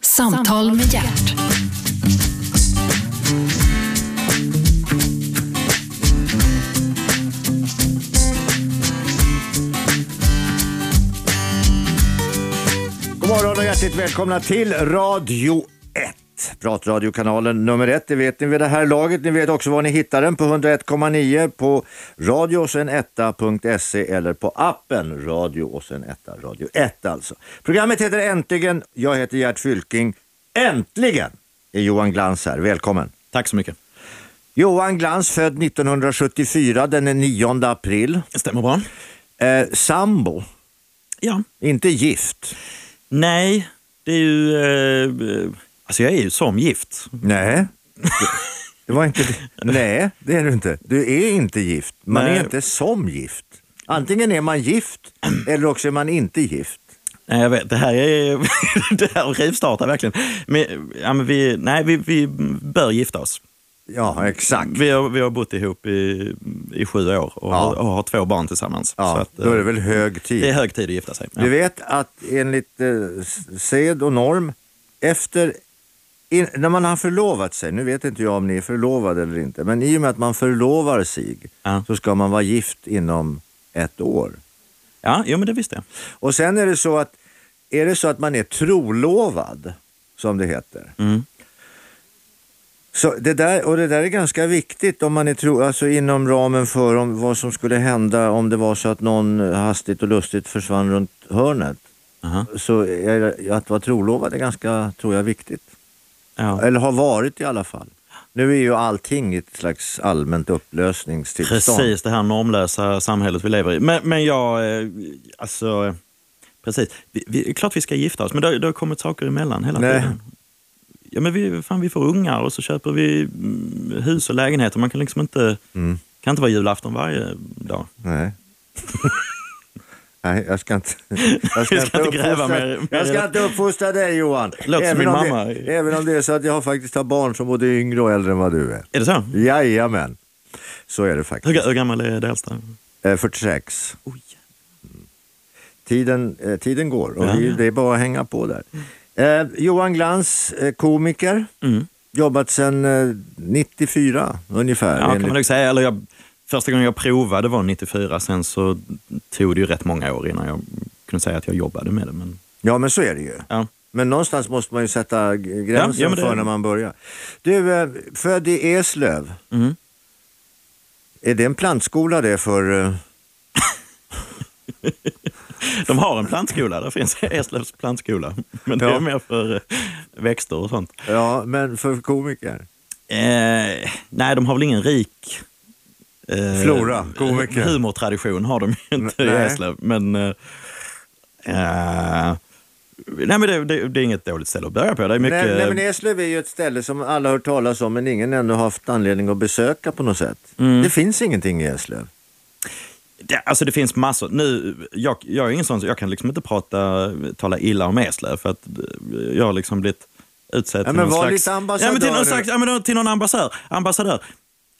Samtal med hjärt. God morgon och hjärtligt välkomna till Radio 1. Pratradiokanalen nummer 1, det vet ni vid det här laget. Ni vet också var ni hittar den på 101,9 på radio och sen etta.se eller på appen Radio och sen etta, Radio 1 alltså. Programmet heter Äntligen, jag heter Gert Fylking. Äntligen är Johan Glans här, välkommen. Tack så mycket. Johan Glans född 1974 den är 9 april. Stämmer bra. Eh, sambo, Ja. inte gift. Nej, det är ju... Eh, alltså jag är ju som gift. Nej. Det var inte Nej, det är du inte. Du är inte gift. Man Nej. är inte som gift. Antingen är man gift eller också är man inte gift. Nej, jag vet. Det här är... det här rivstartar verkligen. Men, ja, men vi, nej, vi, vi bör gifta oss. Ja, exakt. Vi har, vi har bott ihop i, i sju år och, Ja. har, och har två barn tillsammans. så Ja, att, eh, då är det väl hög det är tid. hög tid att gifta sig. Ja. Du vet att enligt eh, s- sed och norm, efter in, när man har förlovat sig, nu vet inte jag om ni är förlovade eller inte, men i och med att man förlovar sig Ja. så ska man vara gift inom ett år. Ja, jo, men det visste jag. Och sen är det så att, är det så att man är trolovad, som det heter. Mm. Så det där, och det där är ganska viktigt om man är tro, alltså inom ramen för om, vad som skulle hända om det var så att någon hastigt och lustigt försvann runt hörnet. Aha. Så är, det- att vara trolovad är ganska, tror jag, viktigt. Ja. Eller har varit i alla fall. Nu är ju allting i ett slags allmänt upplösningstillstånd. Precis, det här normlösa samhället vi lever i. Men, men jag, eh, alltså, eh, precis. Vi, vi, klart vi ska gifta oss, men det, har- det har kommit saker emellan hela Nej. tiden. Ja, men vi, fan, vi får ungar och så köper vi mm, hus och lägenheter. Man kan liksom inte, Mm. kan inte vara julafton varje dag. Nej. Nej, jag ska inte, jag ska inte gräva uppfostra- mer- mer jag i ska det. inte uppfostra dig Johan. Låter som min om mamma. Det, även om det är så att jag faktiskt har barn som både är yngre och äldre än vad du är. Är det så? Jajamän. Så är det Hur, faktiskt. ga- hur gammal är det äldsta? Eh, 46. Oj. Tiden, eh, tiden går och Ja, vi, ja. det är bara att hänga på där. Eh, Johan Glans, eh, komiker. Mm. Jobbat sedan eh, 94 ungefär. Ja, kan enligt- man nog säga. Eller jag, första gången jag provade var 94, sen så tog det ju rätt många år innan jag kunde säga att jag jobbade med det. Men, ja men så är det ju. ja. Men någonstans måste man ju sätta g- gränsen Ja, ja, men det- för när man börjar. Du, eh, född i Eslöv. Mm. Är det en plantskola det för... eh, De har en plantskola, där finns Eslövs plantskola. Men det Ja. är mer för eh, växter och sånt. Ja, men för komiker? Eh, nej, de har väl ingen rik eh, Flora, komiker. humortradition har de ju inte i Nej. Eslöv. Men, eh, eh, nej, men det, det, det är inget dåligt ställe att börja på. Det är mycket, Nej, nej, men Eslöv är ju ett ställe som alla har hört talas om men ingen ännu har haft anledning att besöka på något sätt. Mm. Det finns ingenting i Eslöv. det, alltså det finns massor. Nu, jag, jag är ingen sån, så jag kan liksom inte prata, tala illa om Eslöv för att eh, jag har liksom blivit utsedd Ja, till men någon var slags... lite ambassadör Ja, men till nu. någon, slags, ja, men då- till någon ambassadör. ambassadör.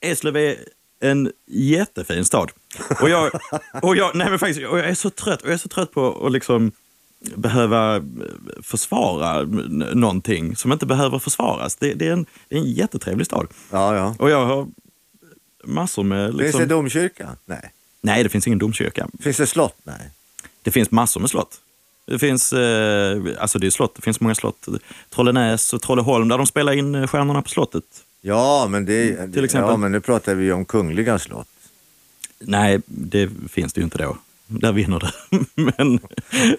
Eslöv är en jättefin stad. Och jag, och jag, nej men faktiskt, och jag är så trött och jag är så trött på att liksom behöva eh, försvara n- någonting som inte behöver försvaras. Det, det, är, en, det är en jättetrevlig stad. Ja, ja. Och jag har massor med... Finns Liksom, det domkyrka? Nej. Nej, det finns ingen domkyrka. Finns det slott? Nej. Det finns massor med slott. Det finns, eh, alltså det är slott, det finns många slott. Trollenäs och Trolleholm där de spelar in eh, Stjärnorna på slottet. Ja, men, det, Mm, Till exempel. ja, men nu pratar vi ju om kungliga slott. Nej, det finns det ju inte då. Där vinner det. men,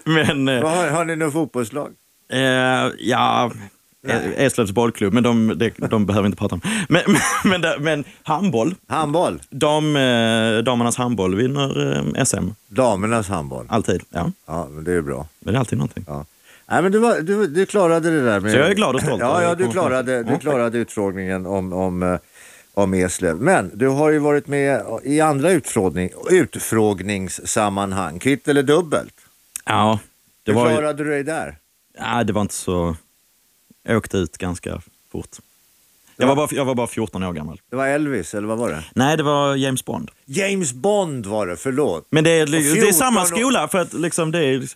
men eh, Vad Har, har ni något fotbollslag? eh, ja, E- Eslövs bollklubb, men de, de, de behöver vi inte prata om. Men, men, men, där- men handboll, Handboll? dam, eh, damernas handboll vinner eh, SM. Damernas handboll? Alltid. Ja, Ja, men det är bra. men det är alltid någonting. Ja. Nej, men du, var, du, du klarade det där. Med... Så jag är glad och stolt. Ja, ja du, klarade, du Ja. klarade utfrågningen om, om, eh, om Eslöv. Men du har ju varit med i andra utfrågning, utfrågningssammanhang, kvitt eller dubbelt. Ja, det Hur var ju... klarade du dig där? Nej, det var inte så... Jag åkte ut ganska fort. Jag var bara, jag var bara 14 år gammal. Det var Elvis, eller vad var det? Nej, det var James Bond. James Bond var det, förlåt. Men det är, det är 14 samma år. skola, för att liksom det är...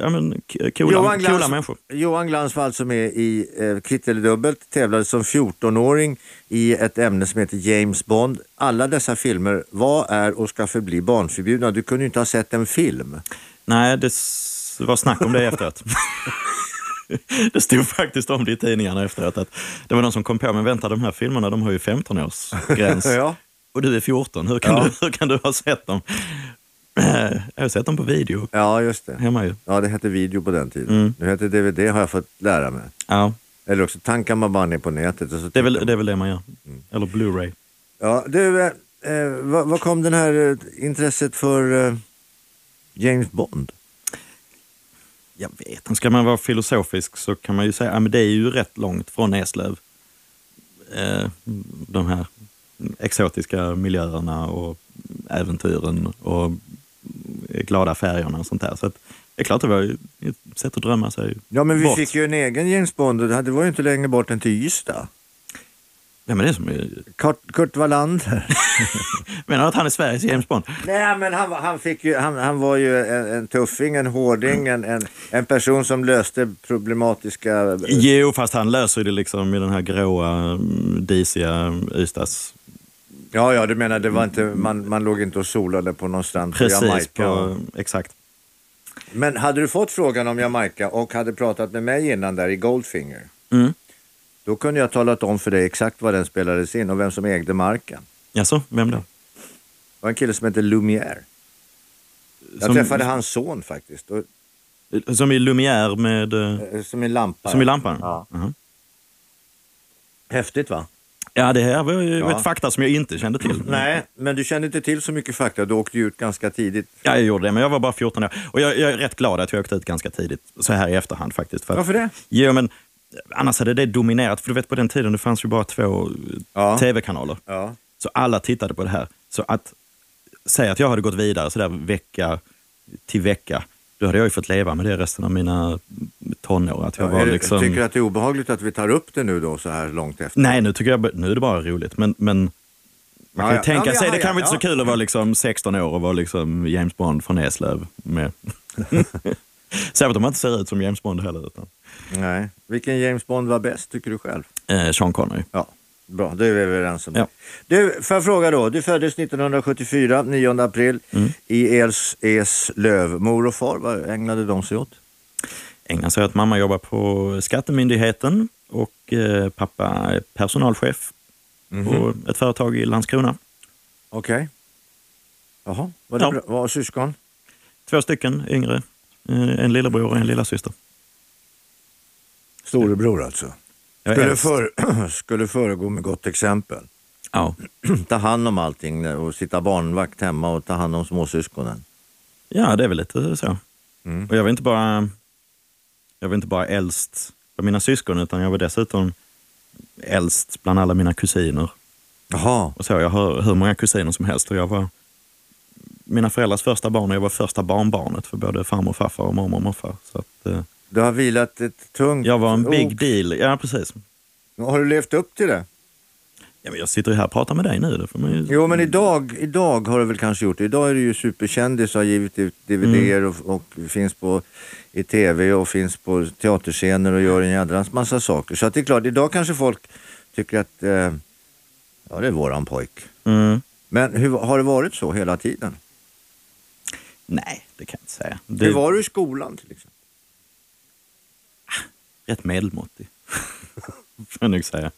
ja, men, k- coola, Johan Glans- coola människor. Johan Glansvall som är i eh, Kitteldubbelt tävlade som 14-åring i ett ämne som heter James Bond. Alla dessa filmer var, är och ska förbli barnförbjudna. Du kunde ju inte ha sett en film. Nej, det s- var snack om det efteråt. det stod faktiskt om det i tidningarna efteråt. Att det var någon som kom på, men vänta de här filmerna de har ju 15-årsgräns. Ja. Och du är 14, hur kan, Ja. du, hur kan du ha sett dem? Eh, Jag har sett dem på video Ja, just det. hemma ju. Ja, det hette video på den tiden. Mm. Nu heter det DVD har jag fått lära mig. Ja, Eller också tankar man bara ner på nätet. Och så det är väl det, är väl det man gör. Mm. Eller Blu-ray. Ja, du, eh, eh, vad, vad kom den här eh, intresset för eh, James Bond? Jag vet inte. Ska man vara filosofisk så kan man ju säga att men det är ju rätt långt från Eslöv. Eh, De här exotiska miljöerna och äventyren och glada färgerna och sånt där. Så att, det är klart, det var ju ett sätt att drömma sig Ja, men vi bort. fick ju en egen James Bond och det var ju inte längre bort än till Ystad. Ja, men det är som, jag Kurt, Kurt Wallander. menar du att han är Sveriges James Bond? Nej, men han, var- han, fick ju, han, han var ju en, en tuffing, en hårding, en, en, en person som löste problematiska... Jo, fast han löser det liksom i den här gråa, mm, disiga Ystads... Ja, ja, du menar det var inte, man, man låg inte och solade på någon strand på Precis, Jamaica. på, exakt. Men hade du fått frågan om Jamaica och hade pratat med mig innan där i Goldfinger, Mm. då kunde jag talat om för dig exakt var den spelades in och vem som ägde marken. Jaså, vem då? Det var en kille som hette Lumière. Jag Som- träffade hans son faktiskt, och, Som i Lumière med... eh, eh, som är lampa. Som i lampan? Ja. Mhm. Häftigt va? Ja, det här var ju Ja. ett fakta som jag inte kände till. Nej, men du kände inte till så mycket fakta. Du åkte ju ut ganska tidigt. Ja, jag gjorde det, men jag var bara 14 år. Och jag, jag är rätt glad att jag åkte ut ganska tidigt, så här i efterhand faktiskt. För att, Varför det? Jo, men annars hade det dominerat, för du vet på den tiden det fanns ju bara två Ja. tv-kanaler. Ja. Så alla tittade på det här. Så att säga att jag hade gått vidare så där vecka till vecka, då hade jag ju fått leva med det resten av mina tonår. Att jag var är det, liksom... Tycker du att det är obehagligt att vi tar upp det nu då så här långt efter? Nej, nu tycker jag b- nu är det bara roligt, men, men man kan Ja, ju ja. tänka Ja, men sig, ja, det ja, kanske inte ja. är så kul att vara liksom 16 år och vara liksom James Bond från Eslöv. Med. Särskilt om man inte ser ut som James Bond heller. Utan, Mm. Nej. Vilken James Bond var bäst tycker du själv? eh, Sean Connery. Ja, bra. Då är vi överens om det. Ja. Du, får jag fråga då? Du föddes 1974, 9 april, Mm. i Els, Eslöv. Mor och far, vad ägnade de sig åt? Ägnar sig åt att mamma jobbar på Skattemyndigheten och eh, pappa är personalchef på Mhm. ett företag i Landskrona. Okej. Jaha, var det Ja. bra? Var syskon? Två stycken yngre, eh, en lillebror och en lillasyster. Storebror alltså. Jag är Skulle, äldst. för, skulle föregå med gott exempel. Ja. ta hand om allting och sitta barnvakt hemma och ta hand om småsyskonen. Ja, det är väl lite så. Mm. Och jag var inte bara jag var inte bara äldst av mina syskon, utan jag var dessutom äldst bland alla mina kusiner. Jaha, Och så, jag har hur många kusiner som helst. Och jag var mina föräldrars första barn och jag var första barnbarnet för både farmor och farfar och mormor och morfar. Så att, eh, du har vilat ett tungt... jag var en big ok. deal. Ja, precis. Har du levt upp till det? Ja, men jag sitter ju här och pratar med dig nu. Det får man ju... Jo, men idag, idag har du väl kanske gjort det. Idag är du ju superkändis och har givit ut DVDer Mm. och, och finns på, i tv och finns på teaterscener och gör en jädrans massa saker. Så att det är klart, idag kanske folk tycker att eh, ja, det är våran pojk. Mm. Men hur, har det varit så hela tiden? Nej, det kan jag inte säga. Det Hur var... var du i skolan till exempel? Rätt medelmåttig, får jag nog säga.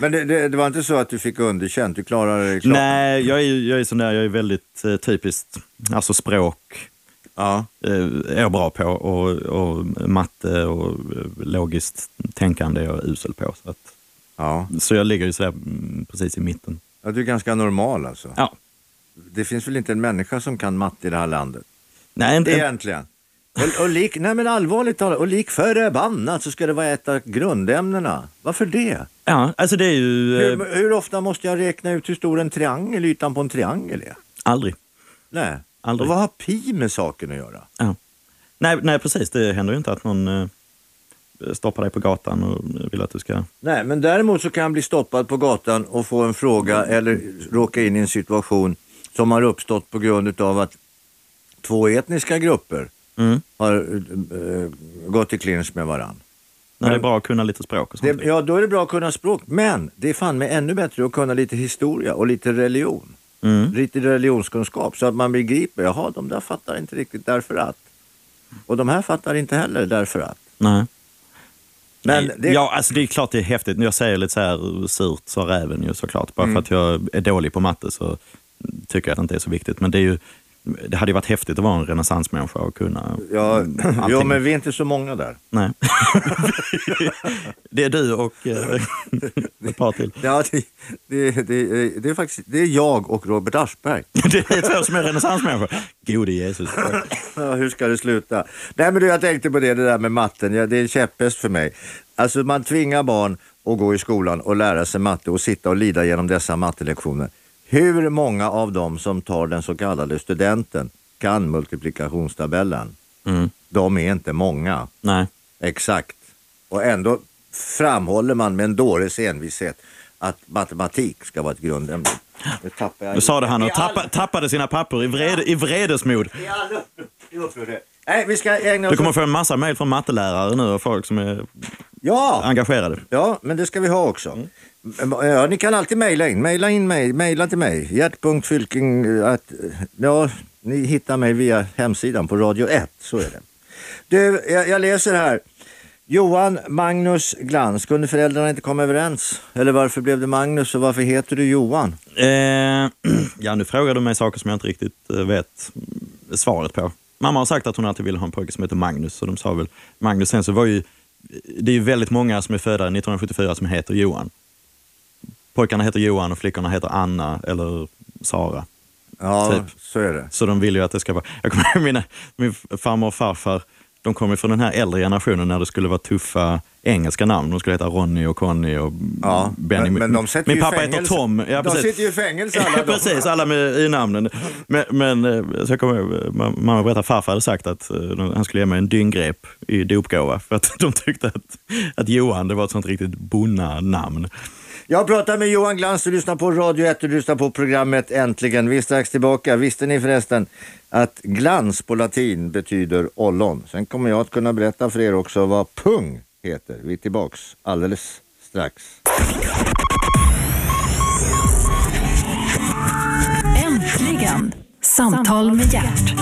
Men det, det, det var inte så att du fick underkänt? Du klarade det klart? Nej, jag är, ju- jag är sån där, jag är väldigt eh, typiskt, alltså språk Ja. eh, är jag bra på och, och matte och eh, logiskt tänkande är jag usel på. Så, att, Ja. så jag ligger ju sådär mm, precis i mitten. ja, du är ganska normal alltså. Ja. Det finns väl inte en människa som kan matte i det här landet? Nej, inte, Egentligen. Och, och lik, nej men allvarligt talat, och lik förbannat så ska det vara ett av grundämnena. Varför det? ja, alltså det är ju eh, Hur, hur ofta måste jag räkna ut hur stor en triangel, ytan på en triangel är? aldrig. Nej. Aldrig. Och vad har pi med saken att göra? Ja. Nej, nej, precis, det händer ju inte att någon eh, stoppar dig på gatan och vill att du ska... Nej, men däremot så kan jag bli stoppad på gatan och få en fråga eller råka in i en situation som har uppstått på grund av att två etniska grupper har eh, gått i clinch med varann. När det är bra att kunna lite språk och sånt. Det, ja, då är det bra att kunna språk, men det är fan med ännu bättre att kunna lite historia och lite religion. Lite religionskunskap så att man begriper, jaha, de där fattar inte riktigt därför att. Och de här fattar inte heller därför att. Nej. Men det, Ja, alltså det är klart det är häftigt. Jag säger lite så här surt sa räven ju såklart. Bara Mm. för att jag är dålig på matte så tycker jag att det inte är så viktigt. Men det, är ju, det hade ju varit häftigt att vara en renässansmänniska och kunna ja, mm, ja, allting. men vi är inte så många där. Nej. det är du och eh, ett par till. Ja, det, det, det, det, är faktiskt, det är jag och Robert Aschberg. Det är två som är renässansmänniskor. Gode Jesus. Ja, hur ska det sluta? Nej, men du, jag tänkte på det, det där med matten. Ja, det är en käpphäst för mig. Alltså, man tvingar barn att gå i skolan och lära sig matte och sitta och lida genom dessa mattelektioner. Hur många av dem som tar den så kallade studenten kan multiplikationstabellen? Mm. De är inte många. Nej. Exakt. Och ändå framhåller man med en dåres envishet att matematik ska vara ett grundämne. Nu tappar jag... Nu sa det han och I all- tappa, tappade sina papper i, vrede, i vredesmod. i all upp- i upprördhet. Nej, vi ska ägna Du oss kommer åt... få en massa mejl från mattelärare nu och folk som är Ja! engagerade. Ja, men det ska vi ha också. Mm. eh, Ja, ni kan alltid mejla in. Mejla in mig. Mejla till mig. Gert.fylking... eh, Att, ja, ni hittar mig via hemsidan på Radio 1. Så är det. Du, jag, jag läser här. Johan Magnus Glans. Kunde föräldrarna inte komma överens? Eller varför blev det Magnus och varför heter du Johan? Eh, ja, nu frågar du mig saker som jag inte riktigt eh, vet mm, svaret på. Mamma har sagt att hon alltid ville ha en pojke som heter Magnus, så de sa väl Magnus. Sen så var ju, det är ju väldigt många som är födda 1974 som heter Johan. Pojkarna heter Johan och flickorna heter Anna eller Sara. Ja, Typ. så är det. Så de vill ju att det ska vara... Jag kommer ihåg mina, min farmor och farfar, de kom ju från den här äldre generationen när det skulle vara tuffa engelska namn. De skulle heta Ronny och Conny och Ja, Benny. men- men de sätter min ju pappa heter fängelse. Tom. Ja, De precis. sitter ju i fängelse alla Ja, de. precis, alla med, i namnen. Men, men eh, så jag kommer ihåg, eh, ma- mamma berättade att farfar hade sagt att eh, de- han skulle ge mig en dyngrep i dopgåva för att de tyckte att, att Johan, det var ett sånt riktigt bonna-namn. Jag pratar med Johan Glans, du lyssnar på Radio 1, du lyssnar på programmet Äntligen. Vi är strax tillbaka. Visste ni förresten att glans på latin betyder ollon? Sen kommer jag att kunna berätta för er också vad pung heter. Vi är tillbaks alldeles strax. Äntligen! Samtal med hjärt.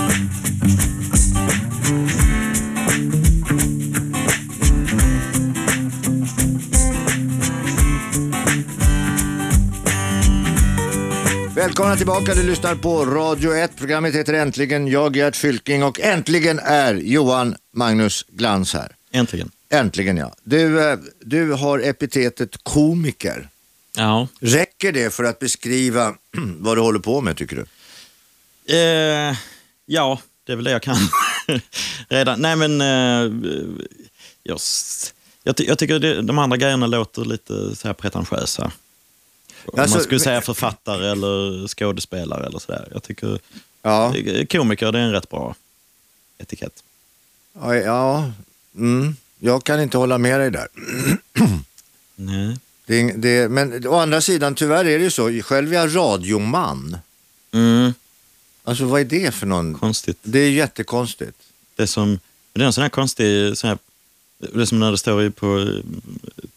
Välkomna tillbaka, du lyssnar på Radio 1. Programmet heter Äntligen. Jag är Gert Fylking och äntligen är Johan Magnus Glans här. Äntligen. Äntligen ja. Du, eh, du har epitetet komiker. Ja. Räcker det för att beskriva vad du håller på med tycker du? Eh, ja, det är väl det jag kan redan. Nej, men eh, jag, s- jag, ty- jag tycker det, de andra grejerna låter lite så här pretentiösa. Om Alltså, man skulle men- säga författare eller skådespelare eller sådär. Jag tycker Ja. komiker det är en rätt bra etikett. Ja, ja. Mm. jag kan inte hålla med dig där. Nej. Det, är ing- det, men å andra sidan, tyvärr är det ju så. Själv är jag radioman. Mm, Alltså vad är det för någon? konstigt. Det är jättekonstigt. Det är som, det är en sån här konstig, sån här, det är som när det står ju på eh,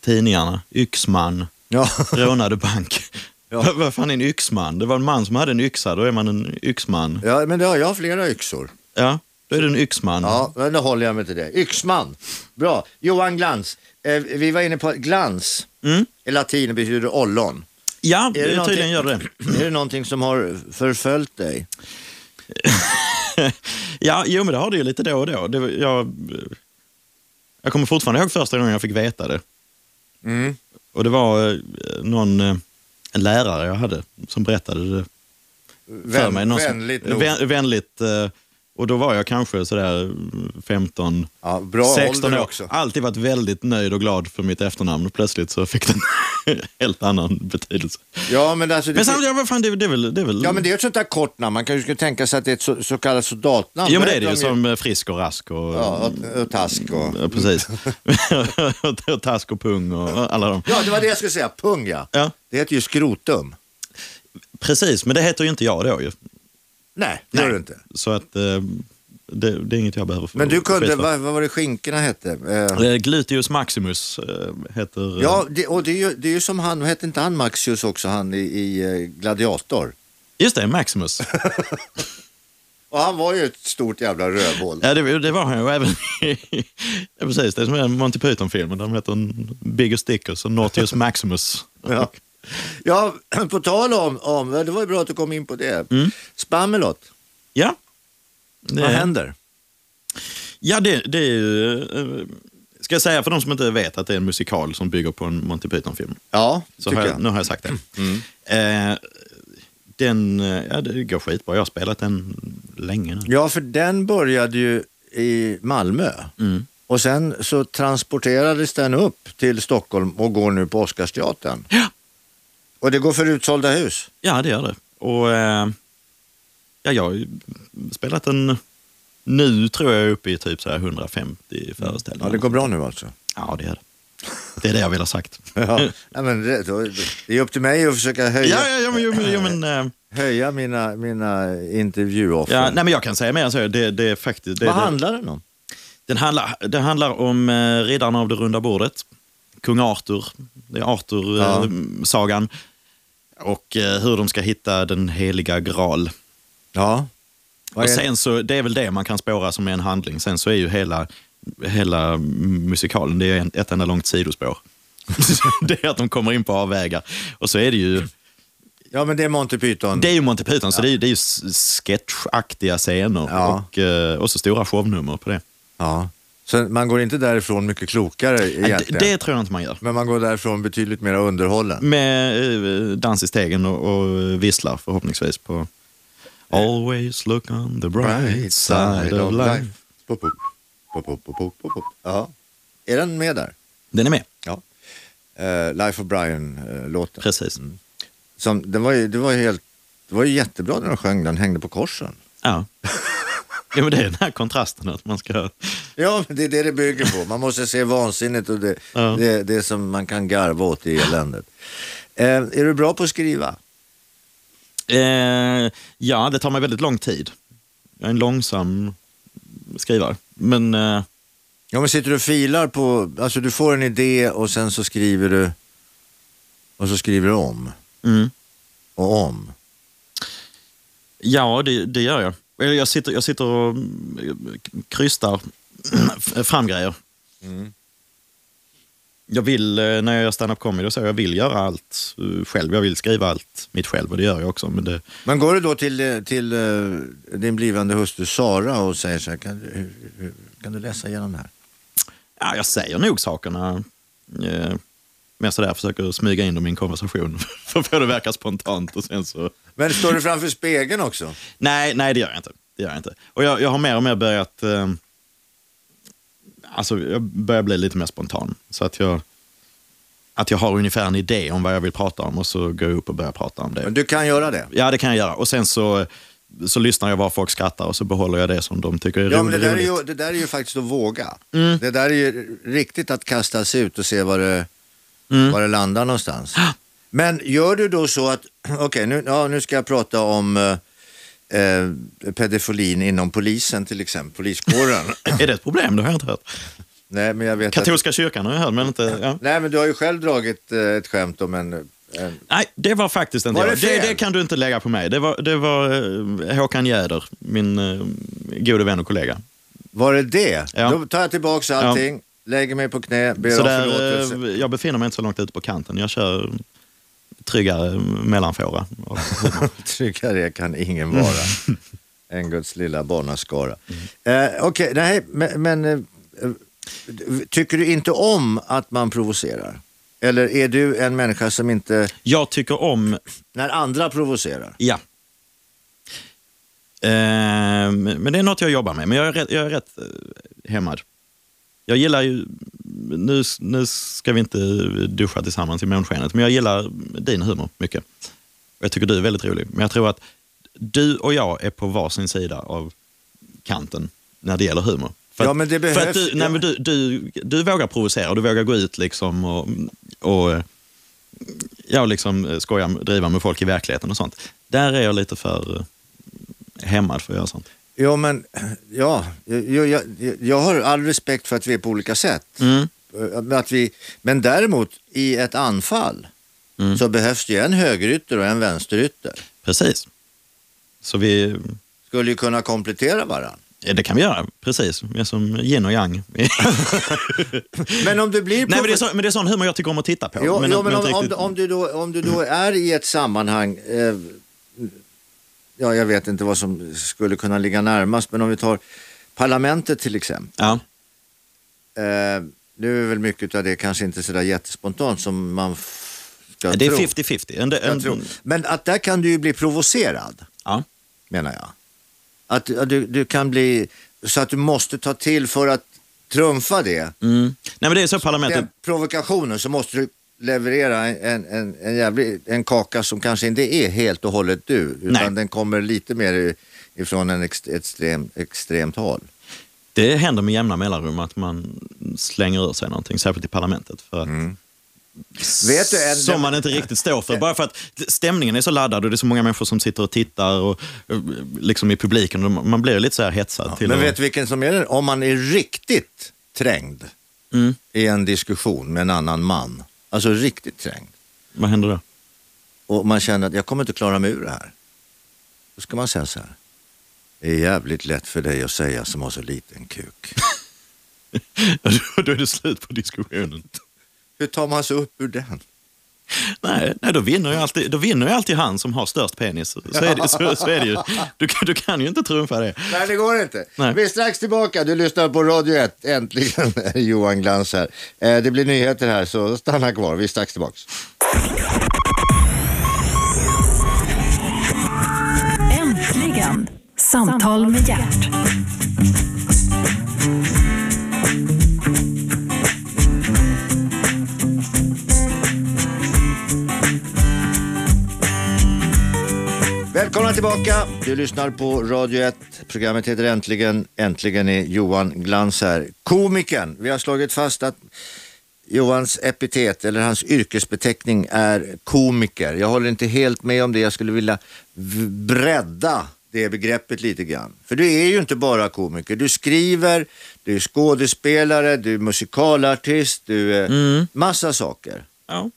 tidningarna, yxman. Ja, rånade bank. Ja. Vad, vad fan är en yxman? Det var en man som hade en yxa, då är man en yxman. ja men det har jag flera yxor. Ja, då är du en yxman. Ja, men då håller jag mig till det. Yxman. Bra. Johan Glans. Eh, vi var inne på att glans. Mm. I latin betyder ollon. Ja, det någonting- tydligen gör det. Är det någonting som har förföljt dig? Ja, jo men det har det ju lite då och då. Det, var- jag, jag kommer fortfarande ihåg första gången jag fick veta det. Mm. Och det var eh, någon, eh, en lärare jag hade som berättade det för mig. Någon som- vänligt nog. Vän, vänligt. eh, Och då var jag kanske sådär eh, 15, Ja, bra 16 ålder år. också. Alltid varit väldigt nöjd och glad för mitt efternamn. Plötsligt så fick den helt annan betydelse. Ja, men alltså, det- Men samtidigt, ja, vad fan, det, är- det är väl... Det är väl Ja men det är ett sånt där kort namn. Man kanske skulle tänka sig att det är ett så, så kallat soldatnamn. Jo, men det är Vet det ju. de Som eh, Frisk och Rask och... Ja, och, och task och... Ja, precis. Och- och Task och Pung och alla de. Ja, det var det jag skulle säga. Pung ja. Ja, Det heter ju skrotum. precis. Men det heter ju inte jag då ju. Nej, det gör det inte. Så att... Eh, det, det är inget jag behöver få Men du kunde, skit för. vad, vad var det skinkorna hette? Eh, Eh, Gluteus maximus eh, heter... eh, ja, det, och det är, ju, det är ju som han, hette inte han Maxius också, han i, i eh, Gladiator? Just det, Maximus. Och han var ju ett stort jävla rövhål. ja, det, det var han ju även i- ja, precis, det är som en Monty Python-film. De heter en Bigger Stickers och Nautius Maximus. Ja. Ja, på tal om, om, det var ju bra att du kom in på det. Mm. Spamelot, ja. Det, vad händer? Ja, det, det är ju... eh, Ska jag säga för de som inte vet att det är en musikal som bygger på en Monty Python-film? Ja, Så tycker har jag, jag. Mm. Nu har jag sagt det. Eh, den, eh, ja, det går skitbra. Jag har spelat den länge nu. Ja, för den började ju i Malmö. Mm. Och sen så transporterades den upp till Stockholm och går nu på Oscarsteatern. Ja. Och det går för utsålda hus. Ja, det gör det. Och, eh, ja, jag har ju spelat den... Nu tror jag är uppe i typ så här 150 föreställningar. Ja, det går bra nu alltså. Ja, det gör det. Det är det jag vill ha sagt. Ja. Nej, men det, då, det är upp till mig att försöka höja, Ja, ja, ja, men, jo, men, jo, men, eh, höja mina, mina intervjuoffer. ja, nej, men jag kan säga mer än så. Det, det är faktiskt... Det, Vad det, handlar den om? Den handlar, det handlar om eh, riddarna av det runda bordet. Kung Arthur, det är Ja. Arthur-sagan. Och eh, hur de ska hitta den heliga graal. Ja. Vad Och är, sen så, det är väl det man kan spåra som en handling. Sen så är ju hela, hela musikalen, det är en, ett enda långt sidospår. det är att de kommer in på avvägar. Och så är det ju, ja, men det är Monty Python. det är ju Monty Python, så det är ju, det är ju s- sketchaktiga scener Ja. och, eh, och så stora shownummer på det. Ja. Så man går inte därifrån mycket klokare Ja, egentligen. det. Det tror jag inte man gör. Men man går därifrån betydligt mer underhållen. med eh, dans i stegen och, och visslar förhoppningsvis på Always look on the bright side of life. Pop, pop, pop, pop, pop, pop, pop, pop. Ja. Är den med där? Den är med, Ja. Eh, Life of Brian-låten. precis. som, den var ju, det, var ju helt, det var ju jättebra när de sjöng den, hängde på korsen. Ja. ja, men det är den här kontrasten att man ska... Ja, men det är det det bygger på. Man måste se vansinnigt och det, Ja. det, det som man kan garva åt i eländet. Eh, är du bra på att skriva? Eh, ja, det tar mig väldigt lång tid. Jag är en långsam skrivare. Men eh, Ja, men sitter du och filar på, alltså du får en idé och sen så skriver du och så skriver du om mm, och om. ja, det, det gör jag. Eller Jag sitter, jag sitter och mm, krystar fram grejer. jag vill, eh, när jag gör stand-up comedy och så, jag vill göra allt eh, själv. Jag vill skriva allt mitt själv och det gör jag också. Men det, Men går du då till, eh, till eh, din blivande hustru Sara och säger så här, kan, du- hur, hur, kan du läsa igenom det här? ja, jag säger nog sakerna. Eh, men sådär, försöker smyga in dem i en konversation för att få det att verka spontant. Och sen så... Men står du framför spegeln också? Nej, nej det gör jag inte. Det gör jag inte. Och jag, jag har mer och mer börjat... Eh, alltså, jag börjar bli lite mer spontan. Så att jag, att jag har ungefär en idé om vad jag vill prata om och så går jag upp och börjar prata om det. Men du kan göra det? Ja, det kan jag göra. Och sen så, så lyssnar jag vad folk skrattar och så behåller jag det som de tycker är Ja, men det roligt. där är, ju, det där är ju faktiskt att våga. Det där är ju riktigt att kasta sig ut och se var det, var det landar någonstans. Men gör du då så att, okej nu, ja, nu ska jag prata om eh, eh, pedofilin inom polisen till exempel, poliskåren. Är det ett problem? Det har jag inte hört. nej, men jag vet att, Katolska kyrkan har jag hört, men inte... Ja. nej, men du har ju själv dragit eh, ett skämt om en, en Nej, det var faktiskt inte Var jag. det fel? Det, det kan du inte lägga på mig. Det var, det var eh, Håkan Jäder, min eh, gode vän och kollega. var det det? Ja. Då tar jag tillbaka allting, lägger mig på knä, ber Så om där, förlåtelse. eh, jag befinner mig inte så långt ute på kanten. Jag kör tryggare mellanfåra. Tryggare kan ingen vara än Guds lilla barnaskara. Eh, Okej, nej, men, men eh, eh, tycker du inte om att man provocerar? Eller är du en människa som inte, Jag tycker om när andra provocerar? Ja. Ehm, men det är något jag jobbar med. Men jag är rätt, jag är rätt eh, hämmad. Jag gillar ju... Nu, nu ska vi inte duscha tillsammans i månskenet, men jag gillar din humor mycket. Och Jag tycker du är väldigt rolig. Men jag tror att du och jag är på varsin sida av kanten när det gäller humor. För Ja, att- men det För att behövs- du, nej, men du, du, du vågar provocera och du vågar gå ut liksom och, och jag liksom eh, skoja, driva med folk i verkligheten och sånt. Där är jag lite för eh, hämmad för att göra sånt. Ja, men ja, jag, jag, jag har all respekt för att vi är på olika sätt. Eh, Men Att vi, men däremot i ett anfall Mm. så behövs det ju en högerytter och en vänsterytter. Precis. Så vi, Skulle ju kunna komplettera varandra. ja, det kan vi göra, precis. Vi är som yin och yang. Nej, Men om du blir... men det, är så, men det är sån humor jag tycker om att titta på. Jo, men, jo, men men om, inte om, riktigt- om, du då, om du då är i ett sammanhang, eh, ja jag vet inte vad som skulle kunna ligga närmast, men om vi tar parlamentet till exempel. Ja, Eh, nu är väl mycket av det kanske inte sådär jättespontant som man f- ska det är tro. 50-50. En, Jag tror. en, Men att där kan du ju bli provocerad, Mm. ja. menar jag. Att, att du, du kan bli, så att du måste ta till för att trumfa det, mm. Nej, men det är så parlamentet... den provokationen, så måste du leverera en, en, en, en, jävlig, en kaka som kanske inte är helt och hållet du, utan Nej. den kommer lite mer i- ifrån en ex, extrem, extremt håll. Det händer med jämna mellanrum att man slänger ur sig någonting, särskilt i parlamentet. För att, Mm. Vet du, en- som man inte riktigt står för. Bara för att stämningen är så laddad och det är så många människor som sitter och tittar och, eh, liksom i publiken. Och man blir lite så här hetsad. till Men att- vet du vilken som är den? Om man är riktigt trängd Mm. i en diskussion med en annan man, alltså riktigt trängd, Vad händer då? och man känner att jag kommer inte klara mig ur det här. Då ska man säga så här. Det är jävligt lätt för dig att säga som har så liten kuk. då är det slut på diskussionen. Hur tar man sig upp ur den? Nej, nej då, vinner ju alltid, då vinner ju alltid han som har störst penis. Så är det, så, så är det ju. Du, kan- du kan ju inte trumfa det. Nej, det går inte. Nej. Vi är strax tillbaka. Du lyssnar på Radio 1. Äntligen är Johan Glans här. Eh, Det blir nyheter här, så stanna kvar. Vi är strax tillbaka. Äntligen! Samtal med hjärt. Välkomna tillbaka. Du lyssnar på Radio 1. Programmet heter Äntligen. Äntligen är Johan Glans här. Komikern. Vi har slagit fast att Johans epitet eller hans yrkesbeteckning är komiker. Jag håller inte helt med om det. Jag skulle vilja v- bredda det begreppet lite grann. För du är ju inte bara komiker. Du skriver, du är skådespelare, du är musikalartist, du är massa saker. Mm. Ja.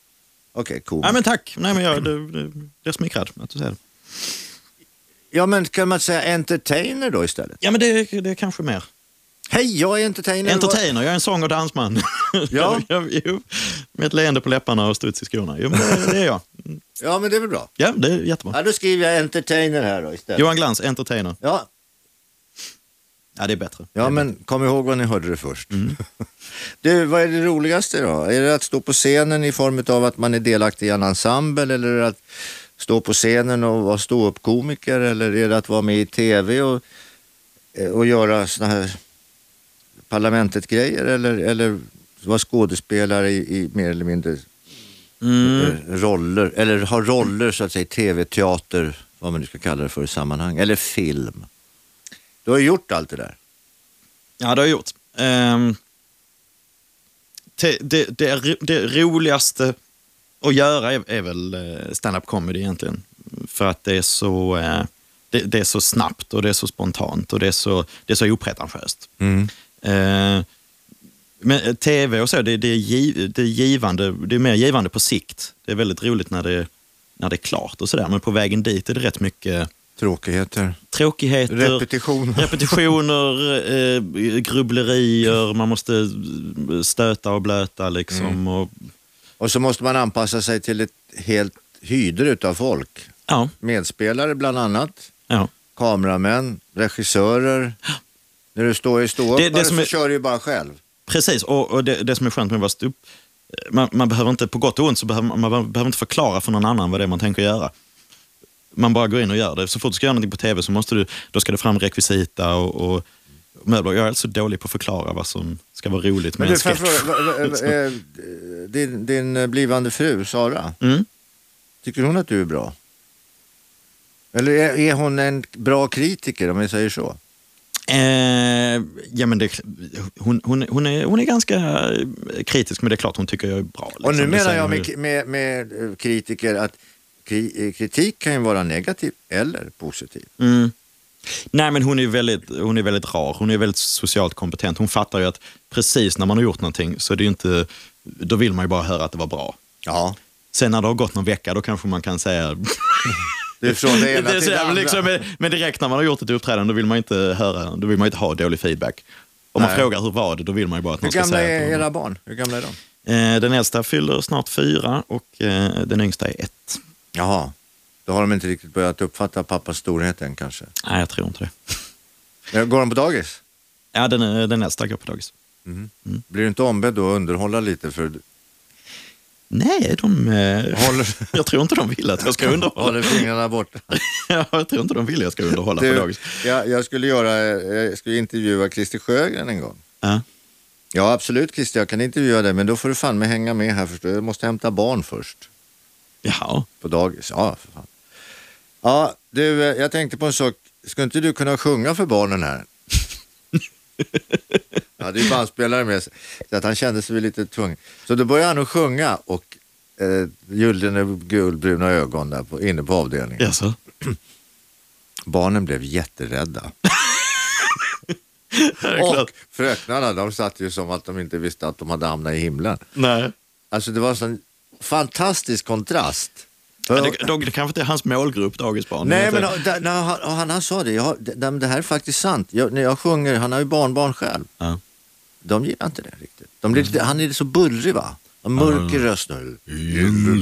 Okej, Nej, komiker. men tack. Nej, men jag du, du, blir smickrad att du säger det. Ja, men kan man säga entertainer då istället? Ja, men det, det är kanske mer. Hej, jag är entertainer. Entertainer, jag är en sång och dansman. Ja. Jag- jo, med ett leende på läpparna och studs i skorna. Jo, men det, det är jag. Ja, men det är väl bra. Ja, det är jättebra. Ja, då skriver jag entertainer här då istället. Johan Glans, entertainer. Ja, Ja, det är bättre. ja, men kom ihåg vad ni hörde det först. Du, vad är det roligaste då? Är det att stå på scenen i form av att man är delaktig i en ensemble eller är det att stå på scenen och vara ståuppkomiker eller är det att vara med i tv och, eh, och göra såna här parlamentet-grejer eller, eller vara skådespelare i, i mer eller mindre Mm. eh, roller, eller ha roller så att säga i tv, teater, vad man nu ska kalla det för i sammanhang, eller film. Du har ju gjort allt det där. Ja, det har jag gjort. Ehm, te, det, det, är ro- det roligaste att göra är, är väl eh, stand-up comedy egentligen. För att det är så... eh, Det, det är så snabbt och det är så spontant och det är så, det är så opretentiöst. Eh, men eh, tv och så, det, det, är giv, det, är givande, det är mer givande på sikt. Det är väldigt roligt när det, när det är klart och sådär. Men på vägen dit är det rätt mycket Tråkigheter. tråkigheter, Repetitioner. repetitioner eh, grubblerier, man måste stöta och blöta liksom. Mm. Och, Och så måste man anpassa sig till ett helt hyder utav folk. ja, Medspelare bland annat, ja. kameramän, regissörer. När du står i Det- det ståuppare som så är- kör du ju bara själv. Precis, och, och det, det som är skönt med att vara stup, man, man behöver inte, på gott och ont, så behöver, man- man behöver- behöver inte förklara för någon annan vad det är man tänker göra. Man bara går in och gör det. Så fort du ska göra någonting på tv så måste du, då ska det fram rekvisita och, och möbler. Jag är alltså dålig på att förklara vad som ska vara roligt med Men du, en får jag sketch. Liksom. fråga, va- va- eh, din, din eh, blivande fru Sara, Mm. tycker hon att du är bra? Eller är, är hon en bra kritiker om vi säger så? Eh, ja, men det, hon, hon, hon, är, hon är ganska eh, kritisk, men det är klart hon tycker jag är bra. liksom. Och nu Det menar säger jag hon ju. med, med, med eh, kritiker att kri, eh, kritik kan ju vara negativ eller positiv. Mm. Nej, men hon är, väldigt, hon är väldigt rar. Hon är väldigt socialt kompetent. Hon fattar ju att precis när man har gjort någonting så är det ju inte, då vill man ju bara höra att det var bra. Ja, Sen när det har gått någon vecka, då kanske man kan säga... det är från det ena Det är till så det här, andra. liksom, eh, men direkt när man har gjort ett uppträdande, då vill man inte, höra, då vill man inte ha dålig feedback. Om man Nej. frågar hur var det, då vill man ju bara att Hur någon ska gamla säga... är att- era barn? Hur gamla är de? Eh, Den äldsta fyller snart fyra och eh, den yngsta är ett. Jaha, då har de inte riktigt börjat uppfatta pappas storhet än kanske. Nej, jag tror inte det. Men Går de på dagis? Ja, den, eh, den äldsta går på dagis. Blir du inte ombedd då att underhålla lite? För... Nej, de... eh, Håller, Jag tror inte de vill att jag ska underhålla. håller fingrarna borta. Ja, jag tror inte de vill att jag ska underhålla på Du, dagis. jag, jag, skulle göra, eh, jag skulle intervjua Christer Sjögren en gång. Ja. Ja absolut Christer, jag kan intervjua dig men då får du fan med hänga med här först. Jag måste hämta barn först Jaha. på dagis. Ja, för fan. Ja, du, eh, jag tänkte på en sak. Skulle inte du kunna sjunga för barnen här? Ja, det är ju bandspelare med sig. Så att han kände sig väl lite tvungen. Så då började han att sjunga och eh, gyllene gulbruna ögon där på, inne på avdelningen. Jaså? Barnen blev jätterädda. klart. Och fröknarna, de satt ju som att de inte visste att de hade hamnat i himlen. Nej. Alltså det var en sån fantastisk kontrast. Ja, det, de, det kanske inte är hans målgrupp, dagisbarn. Nej Jag vet men inte. han, när han, han, han sa det, jag, det, det här är faktiskt sant. Jag, när jag sjunger, han har ju barnbarn själv. Ja. De gillar inte det riktigt. De blir, lite- Han är så bullrig va? En mörk i rösten. En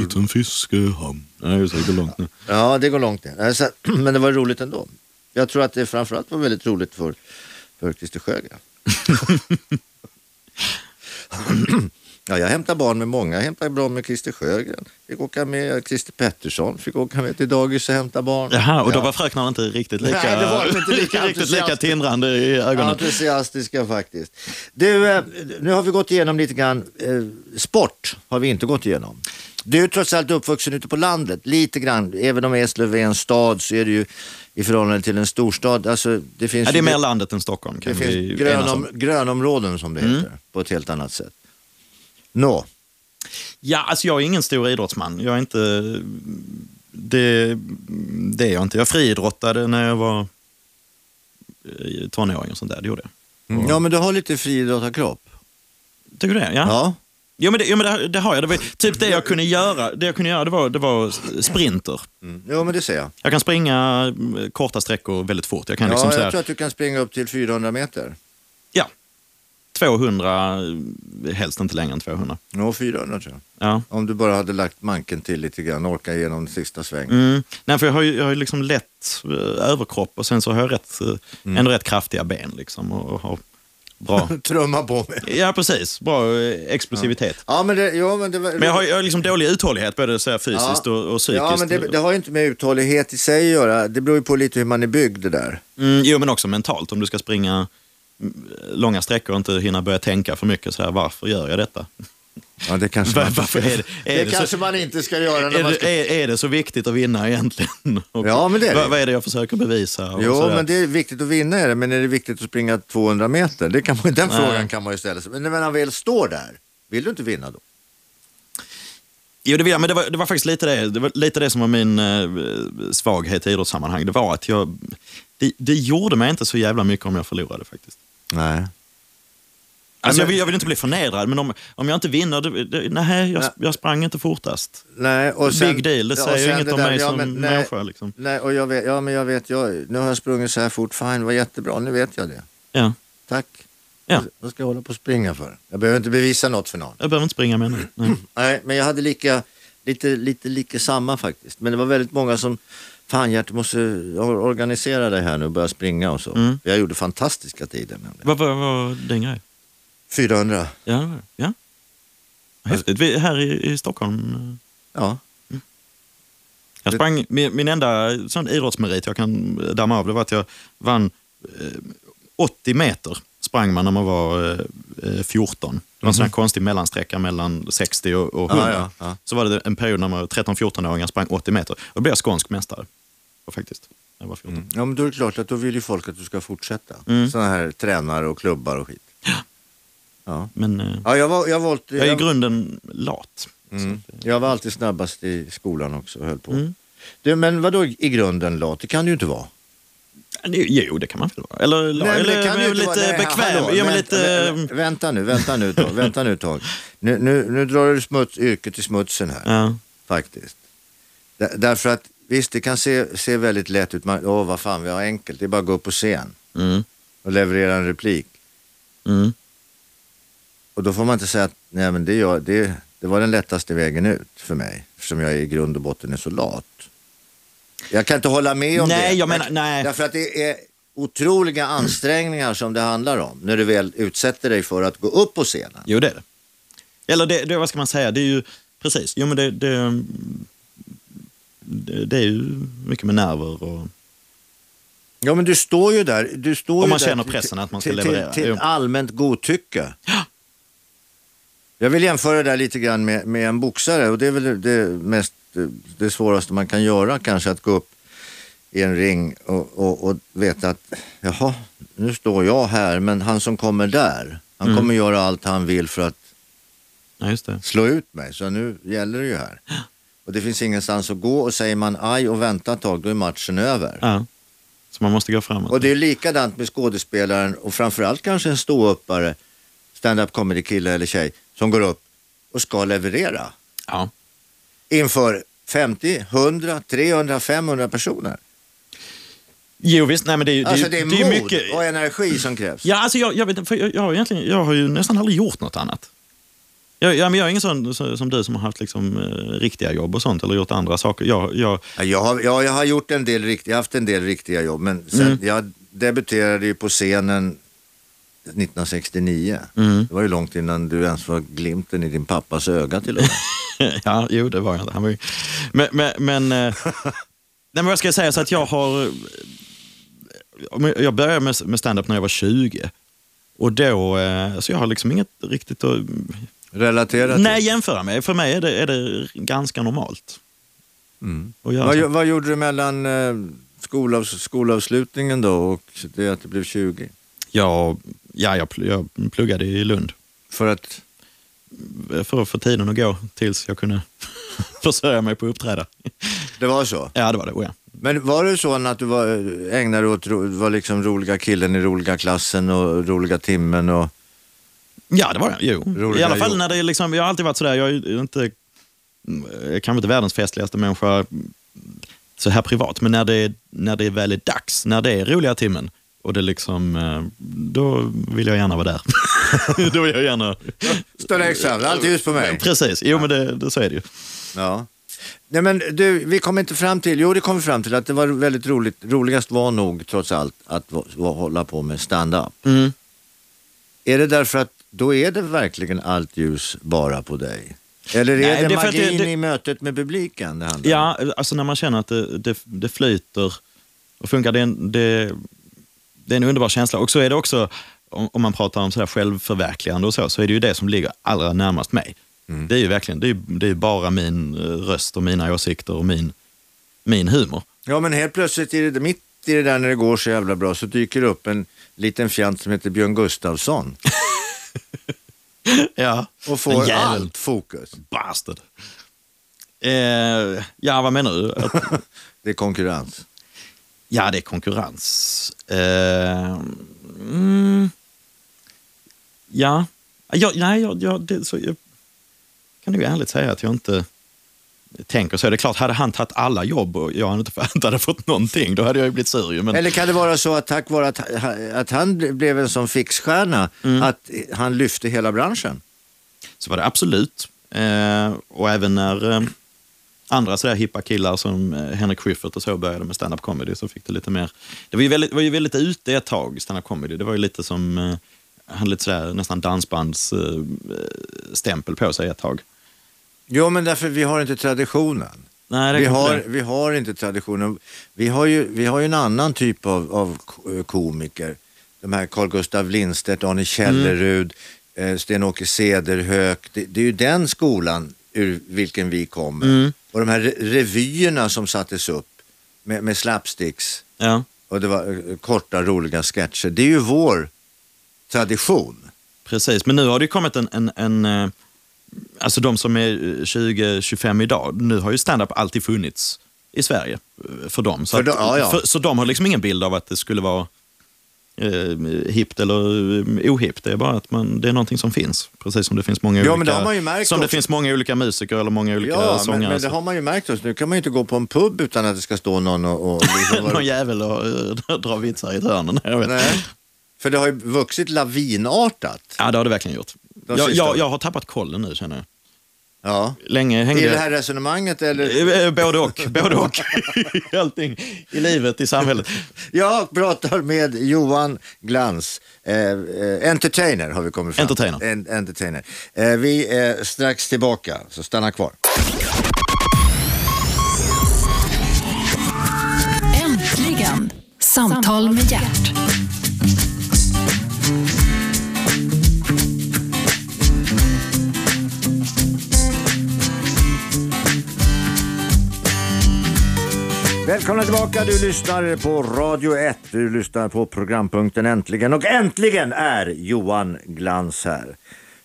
liten fiskehamn. Nej, just det. Det går långt nu. Ja, det går långt ner. Alltså, men det var roligt ändå. Jag tror att det framförallt var väldigt roligt för, för Christer Sjögren. ja, jag hämtar barn med många. Jag hämtar barn med Christer Sjögren. Fick åka med Christer Pettersson. Fick åka med till dagis och hämta barn. Jaha, och då Ja. var fröknarna inte riktigt lika, Nej, det var de inte lika riktigt lika entusiast- tindrande i ögonen. Entusiastiska faktiskt. Du, eh, nu har vi gått igenom lite grann. Eh, sport har vi inte gått igenom. Du är trots allt uppvuxen ute på landet, lite grann. Även om Eslöv är en stad så är det ju i förhållande till en storstad. Alltså, det finns, Ja, det är ju- mer landet än Stockholm. det Kan vi finns enas om. grönom, Mm. grönområden som det heter på ett helt annat sätt. Nå, Ja, alltså jag är ingen stor idrottsman. Jag är inte... Det, det är jag inte. Jag friidrottade när jag var eh, tonåring och sånt där. Det gjorde jag. Mm. ja men du har lite friidrottarkropp. Tycker du det? Ja. Ja. Jo, men, det, jo, men det, har- det har jag. Det var, typ det jag kunde göra, det jag kunde göra det var, det var sprinter. Mm. Jo men det ser jag. Jag kan springa eh, korta sträckor väldigt fort. Jag kan liksom ja, så jag tror här, att du kan springa upp till 400 meter. ja, 200, eh, helst inte längre än 200. Nå, 400 tror jag. Ja. Om du bara hade lagt manken till lite grann, orka igenom sista svängen. Mm. Nej, för jag har ju, jag har ju liksom lätt eh, överkropp och sen så har jag rätt, eh, Mm. ändå rätt kraftiga ben. Liksom, och, och har bra. Trumma på mig. ja, precis. Bra eh, explosivitet. Ja, men det, ja, men det var... Men jag har, ju- jag har liksom dålig uthållighet, både så här fysiskt Ja. och, och psykiskt. Ja, men det, det har ju inte med uthållighet i sig att göra. Det beror ju på lite hur man är byggd det där. Mm, jo, men också mentalt. Om du ska springa mm, långa sträckor och inte hinna börja tänka för mycket, så här, varför gör jag detta? Ja, det kanske Var- Varför är det, det, är det, kanske så, man inte ska göra när är, man det, ska... är, är det så viktigt att vinna egentligen? Och Ja, men det är det. Vad, vad är det jag försöker bevisa? Och så Jo, där. men det är viktigt att vinna är det, men är det viktigt att springa 200 meter? Det kan man, den Nej. frågan kan man ju ställa sig. Men när man väl står där, vill du inte vinna då? Jo, det vill jag, men det var, det var faktiskt lite det, det, var lite det som var min eh, svaghet i idrottssammanhang. Det var att jag... Det, det gjorde mig inte så jävla mycket om jag förlorade faktiskt. Nej. Alltså, men- jag, vill, jag vill inte bli förnedrad, men om, om jag inte vinner, det, det, nej, jag, Nej. jag sprang inte fortast. Nej, och sen, Big deal, det ja, och säger sen inget det om där- mig ja, som men nej, människa. Liksom. Nej, och jag vet, ja, men jag vet, jag, nu har jag sprungit så här fort, fine, det var jättebra, nu vet jag det. Ja, Tack. Ja. Vad ska jag hålla på och springa för? Jag behöver inte bevisa något för någon. jag behöver inte springa med nu. Nej. Nej, men jag hade lika, lite, lite lika samma faktiskt. Men det var väldigt många som, fan Gert, du måste or- organisera dig här nu och börja springa och så. Mm. Jag gjorde fantastiska tider nämligen. Vad vad var din grej? 400, Ja, det var det. Ja. Häftigt. Vi, här i, i Stockholm. eh, ja. Jag Det- sprang, min, min enda sån idrottsmerit jag kan eh, damma av det var att jag vann eh, 80 meter sprang man när man var eh, eh, 14. Det var en sån här konstig mellansträcka mellan 60 och, och Mhm. Ja, 100. ja, ja. Så var det en period när man var 13-14-åringar sprang 80 meter. Och då blev jag skånsk mästare. Och faktiskt, när jag var 14. Ja, men då är det klart att då vill ju folk att du ska fortsätta. Mm. Sådana här tränare och klubbar och skit. Ja. Men eh, Ja, jag var, jag var, alltid- jag är i jag- grunden lat. Mm. Jag var alltid snabbast i skolan också och höll på. Mm. Du, men vadå i grunden lat? Det kan du ju inte vara. Jo, det kan man väl vara. Eller, eller, ju inte lite vara- nej, bekväm. hallå, ja, men vä- lite... eh, mm. vä- vä- Vänta nu, vänta nu ett tag. vänta nu ett tag. Nu, nu, nu drar du smuts, yrket i smutsen här, Ja. faktiskt. Dä- därför att visst, det kan se, se väldigt lätt ut. Man, åh, vad fan, vi har enkelt. Det är bara att gå upp på scen Mm. och leverera en replik. Mm. Och då får man inte säga att nej, men det, gör, det, det var den lättaste vägen ut för mig. Eftersom jag i grund och botten är så lat. Jag kan inte hålla med om Nej, det. jag menar- nej. Därför att det är otroliga ansträngningar som det handlar om. När du väl utsätter dig för att gå upp på scenen. Jo, det är det. Eller det, det, vad ska man säga? Det är ju... Precis. Jo, men det... Det, det, det är ju mycket med nerver och... Ja men du står ju där. Du står Om ju man där känner till- pressen att man ska till, leverera, Till, jo. till allmänt godtycke. Jag vill jämföra det där lite grann med, med en boxare och det är väl det, mest, det svåraste man kan göra kanske att gå upp i en ring och, och, och veta att jaha, nu står jag här men han som kommer där, han Mm. kommer göra allt han vill för att Ja, just det. slå ut mig så nu gäller det ju här. Och det finns ingenstans att gå och säger man aj och vänta ett tag då är matchen över. Ja. Så man måste gå framåt. Och det är likadant med skådespelaren och framförallt kanske en ståuppare, stand-up comedy kille eller tjej, som går upp och ska leverera Ja. inför 50, 100, 300, 500 personer. Jo, visst. Nej, men det är ju... Alltså det det är är, ju mod mycket... och energi som krävs. Ja, alltså jag, jag, vet, inte, för jag, jag, har egentligen, jag har ju nästan aldrig gjort något annat. Jag, jag, men jag är ingen sån så- som du som har haft liksom, eh, riktiga jobb och sånt eller gjort andra saker. Jag, jag, Ja, Jag har, ja, jag har gjort en del rikt, jag har haft en del riktiga jobb, men sen, Mm. jag debuterade ju på scenen 1969. Mm. Det var ju långt innan du ens var glimten i din pappas öga till och med. ja, jo, det var jag inte. Han var ju... Men... men, men eh, nej, men vad ska jag säga? Så att jag har... eh, om Jag jag började med, med stand-up när jag var 20. Och då, eh, så jag har liksom inget riktigt att Relaterat nej, jämföra med. För mig är det, är det ganska normalt. Och jag, Vad, vad gjorde du mellan eh, skolavs, skolavslutningen då och det att det blev 20? jag, ja, jag, pl- jag pluggade i Lund. eh, För att, för att få tiden att gå tills jag kunde försörja mig på att uppträda. det var så. Ja, det var det. Oh, ja. Men var det så att du var, eh, ägnade dig åt ro- var liksom roliga killen i roliga klassen och roliga timmen och... ja, det var det. Jo. Roligt I alla fall jobb. när det är liksom, jag har alltid varit sådär, jag är ju inte, jag är kanske inte världens festligaste människa så här privat, men när det, när det väl är dags, när det är roliga timmen, och det liksom, eh, då vill jag gärna vara där. då vill jag gärna... Större examen, Eh, allt ljus på mig. Precis, jo men det, det, så är det ju. Ja. Nej men du, vi kom inte fram till, jo det kom vi fram till att det var väldigt roligt, roligast var nog trots allt att va- va- hålla på med stand-up. Mm. Är det därför att då är det verkligen allt ljus bara på dig? Eller är Nej, det, det är för att det- magin det- i mötet med publiken det handlar om? Ja, alltså när man känner att det, det, det flyter och funkar, det är, en, det, det är en underbar känsla. Och så är det också, om, om man pratar om sådär självförverkligande och så, så är det ju det som ligger allra närmast mig. Mm. Det är ju verkligen, det är, det är bara min eh, röst och mina åsikter och min, min humor. Ja, men helt plötsligt i det, mitt i det där när det går så jävla bra så dyker det upp en liten fjant som heter Björn Gustafsson Ja, och får en jävel. allt fokus. Bastard. Eh, ja, vad menar du? Att, Det är konkurrens. Ja, det är konkurrens. Eh, mm, ja, jag, nej, jag, jag, det, så, jag kan nog ärligt säga att jag inte tänker så. Det är klart, hade han tagit alla jobb och jag inte, inte hade fått någonting, då hade jag ju blivit sur. ju, Men, Eller kan det vara så att tack vare att, att han blev en sån fixstjärna Mm. att han lyfte hela branschen? så var det absolut. Eh, och även när eh, andra sådär hippa killar som eh, Henrik Schyffert och så började med stand-up comedy så fick det lite mer... Det var ju väldigt, var ju väldigt ute ett tag, stand-up comedy. Det var ju lite som... Eh, han hade lite sådär nästan dansbandsstämpel eh, stämpel på sig ett tag. Jo, men därför vi har inte traditionen. Nej, det Vi kanske har, det. vi har inte traditionen. Vi har ju, vi har ju en annan typ av, av ko- komiker. De här Carl Gustav Lindstedt, Arne Källerud, Mm. eh, Sten-Åke Cederhök. Det, det är ju den skolan ur vilken vi kommer. Mm. Och de här re- revyerna som sattes upp med, med slapsticks Ja. och det var eh, korta roliga sketcher. Det är ju vår tradition. Precis, men nu har det ju kommit en... en, en eh, alltså de som är 20-25 idag, nu har ju stand-up alltid funnits. i Sverige eh, för dem. Så, För att, de- ja, ja. För, så de har liksom ingen bild av att det skulle vara eh, hippt eller eh, ohippt. Det är bara att man, det är någonting som finns. Precis som det finns många Ja, men det olika, har man ju märkt som det också. finns många olika musiker eller många olika alltså. Ja, men, sångare. men det Så- har man ju märkt också. Nu kan man ju inte gå på en pub utan att det ska stå någon och... och liksom Någon jävel och eh, dra vitsar i ett hörn. Jag vet. Nej. För det har ju vuxit lavinartat. Ja, det har det verkligen gjort. De Jag, sista jag, åren. jag har tappat kollen nu känner jag. Ja. Länge hängde I jag- det här resonemanget eller? Eh, eh, Både och, både och. I Allting i livet, i samhället. Jag pratar med Johan Glans, eh, eh, entertainer har vi kommit fram Entertainer. En, entertainer. Eh, vi är strax tillbaka, så stanna kvar. Äntligen! Samtal med hjärt. Välkomna tillbaka, du lyssnar på Radio 1. Du lyssnar på programpunkten Äntligen och äntligen är Johan Glans här.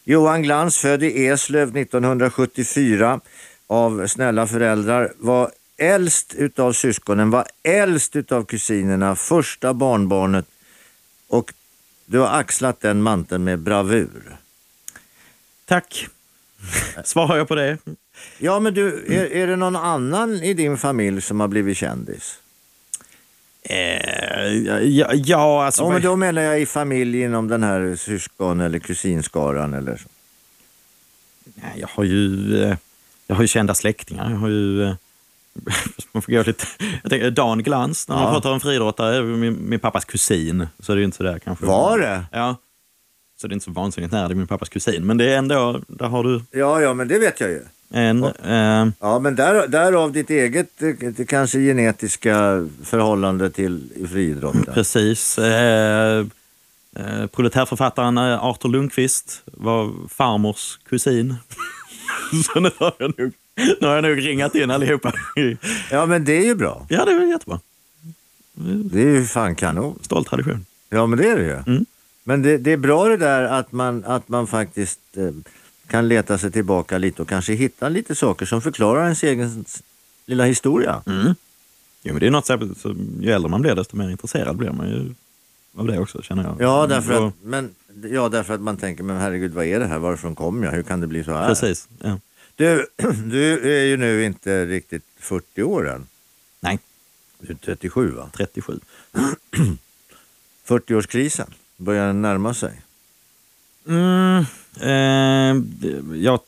Johan Glans, född i Eslöv 1974 av snälla föräldrar, var äldst utav syskonen, var äldst utav kusinerna, första barnbarnet och du har axlat den manteln med bravur. Tack. Svarar jag på det? Ja, men du, är, är det någon annan i din familj som har blivit kändis? Eh, ja, ja, alltså... Ja, men vad- då menar jag i familj inom den här syskon eller kusinskaran eller så. Nej, Jag har ju, eh, jag har ju kända släktingar. Jag har ju... eh, Man får gå lite... Jag tänker, Dan Glans, när man Ja. pratar om friidrottare, min, min pappas kusin. Så är det ju inte så där kanske. Var det? Ja. Så det är inte så vansinnigt nära, det är min pappas kusin. Men det är ändå, där har du Ja, ja, men det vet jag ju. en... Eh, Ja, men där, därav ditt eget eh, det kanske genetiska förhållande till i friidrotten. Mm, Precis. Eh, eh, proletärförfattaren eh, Arthur Lundqvist var farmors kusin. Så nu har, jag nog, nu har jag nog ringat in allihopa. Ja, men det är ju bra. ja, det är väl jättebra. Det är ju fan kanon. Stolt tradition. Ja, men det är det ju. Mm. Men det, det är bra det där att man, att man faktiskt eh, kan leta sig tillbaka lite och kanske hitta lite saker som förklarar ens egen s- lilla historia. Mm. Jo, men det är något så, så, ju äldre man blir, desto mer intresserad blir man ju av det också, känner jag. Ja, därför Och- att, men, ja, därför att man tänker, men herregud, vad är det här? Varifrån kom jag? Hur kan det bli så här? Precis. Ja. Du, du är ju nu inte riktigt 40 år än. Nej, Du är 37 va? 37. 40-årskrisen börjar närma sig. Mm, eh, jag,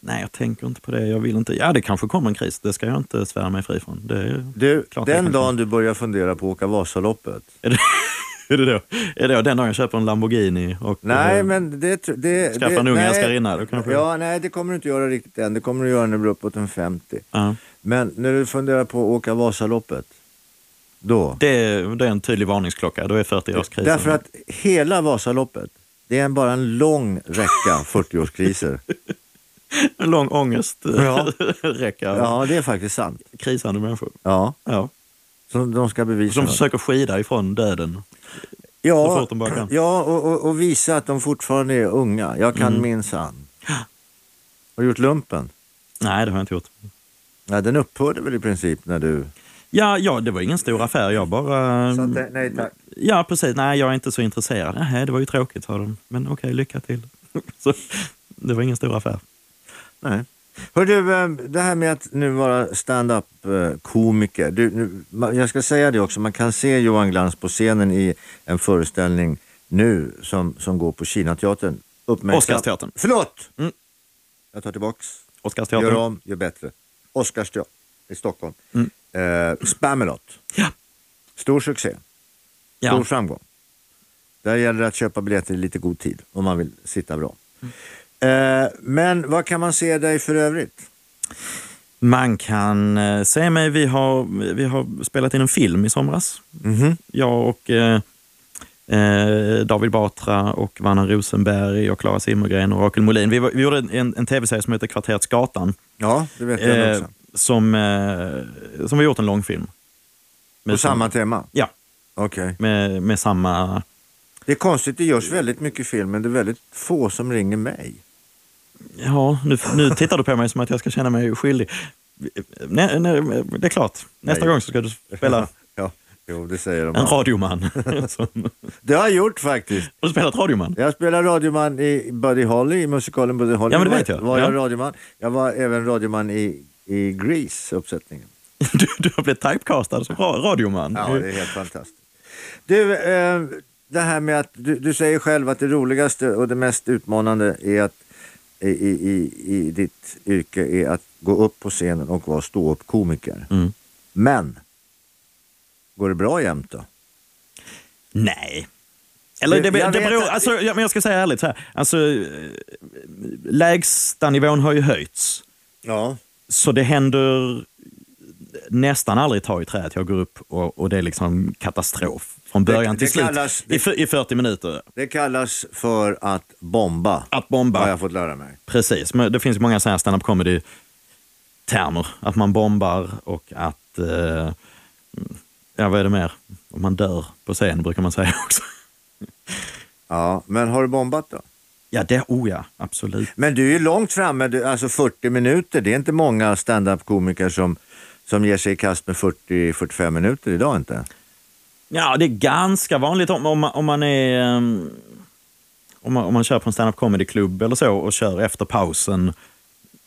nej, jag tänker inte på det. Jag vill inte. Ja, det kanske kommer en kris. Det ska jag inte svära mig fri från. Det är, Du, Klart det den kan dagen du börjar fundera på att åka Vasaloppet. är, det, är, det då, är det då den dagen jag köper en Lamborghini? Och, Nej, eh, men det... tr- det Skaffa det- en ung nej. älskarinna, då kanske- Ja, nej, det kommer du inte göra riktigt än. Det kommer du göra när du blir uppåt en 50. ja. Men när du funderar på att åka Vasaloppet, då. det, det är en tydlig varningsklocka. Då är 40-årskrisen. Därför att hela Vasaloppet, det är bara en lång räcka 40-årskriser. En lång ångest eh, Ja. räcker. Ja, det är faktiskt sant. Krisande människor. Ja, Ja. som de ska bevisa. Som försöker skida ifrån döden. Ja, Så fort de bara kan. ja och, och, och visa att de fortfarande är unga. Jag kan Mm. minsann. Har du gjort lumpen? Nej, det har jag inte gjort. Ja, den upphörde väl i princip när Mm. du... Ja, ja, det var ingen stor affär. Jag bara... Så att det- nej, tack. Ja, precis. Nej, jag är inte så intresserad. Nej, det var ju tråkigt, sa de. Men okej, lycka till. så, det var ingen stor affär. Nej. Hör du, eh, det här med att nu vara stand-up eh, komiker. Du, nu, ma- jag ska säga det också, man kan se Johan Glans på scenen i en föreställning nu som, som går på Kinateatern. Uppmärksam- Oscarsteatern. Förlåt! Mm. Jag tar tillbaks. Gör Oscarsteatern. om, gör bättre. Oscarsteatern i Stockholm. Mm. Eh, Spamalot. Ja. Stor succé, stor Ja. framgång. Där gäller det att köpa biljetter i lite god tid om man vill sitta bra. Mm. Eh, men vad kan man se dig för övrigt? Man kan eh, se mig. Vi har, vi har spelat in en film i somras. Jag och eh, eh, David Batra och Vanna Rosenberg och Klara Zimmergren och Rakel Molin. Vi, var, vi gjorde en, en tv-serie som heter Kvarterets Gatan. Ja, det vet jag eh, också. som, eh, som vi gjort en långfilm. På Med samma tema? Ja, Okej. med, med samma... Det är konstigt, det görs väldigt mycket film men det är väldigt få som ringer mig. Ja, nu, nu tittar du på mig som att jag ska känna mig skyldig. Nej, nej, det är klart. Nästa Nej. gång så ska du spela Ja, jo, det säger de. en radioman. Som- Det har jag gjort faktiskt. Har du spelat radioman? Jag spelade radioman i Buddy Holly, i musikalen Buddy Holly. Ja, men det Var- vet jag. Var jag Ja. radioman. Jag var även radioman i, i Grease, uppsättningen. Du, du har blivit typecastad som ra- radioman. Ja, det är helt fantastiskt. Du, eh, det här med att du, du säger själv att det roligaste och det mest utmanande är att, i, i, i, i ditt yrke är att gå upp på scenen och vara ståuppkomiker. Mm. Men, går det bra jämt då? Nej. Eller det, Jag det vet beror, att- alltså, ja, men jag ska säga ärligt så här. Alltså, eh, lägsta nivån har ju höjts. Ja. Så det händer nästan aldrig ta i trä att jag går upp och, och det är liksom katastrof från början det till slut kallas- i, fyr- i 40 minuter. Det kallas för att bomba, Att bomba, har jag fått lära mig. precis. Men det finns ju många sådana här stand-up comedy-termer. Att man bombar och att... Eh, ja, vad är det mer? Om man dör på scen brukar man säga också. Ja, men har du bombat då? Ja, det... Oh ja, absolut. Men du är ju långt framme, du, alltså 40 minuter. Det är inte många standup-komiker som, som ger sig i kast med 40-45 minuter idag inte. Ja, det är ganska vanligt om, om, man- om man är... ehm, Om man, om man kör på en stand-up comedy-klubb eller så och kör efter pausen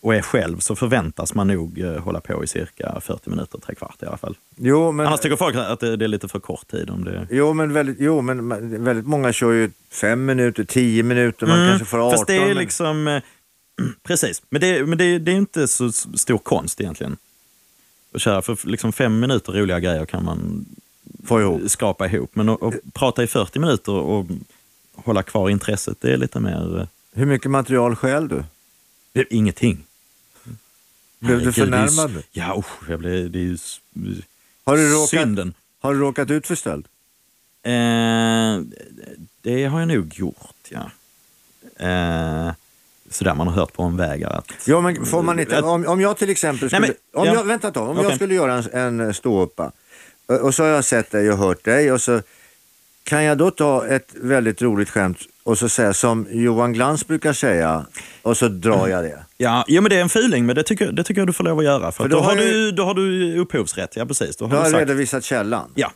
och är själv så förväntas man nog eh, hålla på i cirka 40 minuter, tre kvart i alla fall. Jo, men, Annars tycker folk att Alltså, det, det är lite för kort tid. om det... jo, men, väldigt, jo, men man- väldigt många kör ju 5 minuter, 10 minuter, man kanske får 18. Mm. Fast det är men- liksom... eh, Precis, men, det, men det, det är inte så s- stor konst egentligen. Att köra för liksom fem minuter roliga grejer kan man Får ihop. skrapa ihop. Men att, att prata i 40 minuter och hålla kvar intresset, det är lite mer... eh, Hur mycket material stjäl du? Det är ingenting. Blev du Herregud, det är ju s- förnärmad? Ja, usch, jag blev... Det är ju... s- Har du råkat- Synden. Har du råkat ut för stöld? Eh, det har jag nog gjort, ja. Eh, sådär man har hört på en väg att... Ja, men får man inte, Att- om, om jag till exempel skulle, Nej, men- om ja. jag, vänta ett tag, om jag Okej. skulle göra en, en ståuppa eh, och så har jag sett dig och hört dig och så kan jag då ta ett väldigt roligt skämt och så säga som Johan Glans brukar säga och så drar jag det. Mm. Ja, ja, men det är en feeling, men det tycker, det tycker jag du får lov att göra. För, att då då, har har jag- du, då har du upphovsrätt, ja precis. Då har Då har du jag sagt, redovisat källan ja.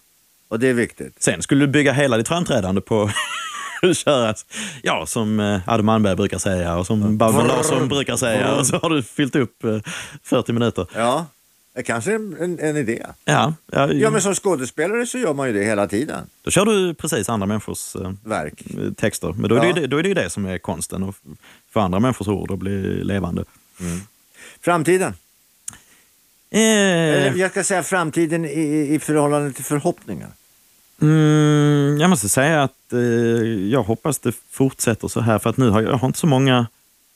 och det är viktigt. Sen skulle du bygga hela ditt framträdande på att köra, ja, som eh, Adam Malmberg brukar säga och som Babben Larsson brukar säga. Och så har du fyllt upp eh, 40 minuter. Ja, det kanske är en, en, en idé. Ja, ja, Ja, men som skådespelare så gör man ju det hela tiden. Då kör du precis andra människors eh, Verk. texter. Men då är, det, Ja. ju det- då är det ju det som är konsten, att f- få andra människors ord att bli levande. Framtiden. Eh, Eller jag ska säga framtiden i- i, i förhållande till förhoppningar. Mm, jag måste säga att eh, jag hoppas det fortsätter så här för att nu har jag, jag har inte så många,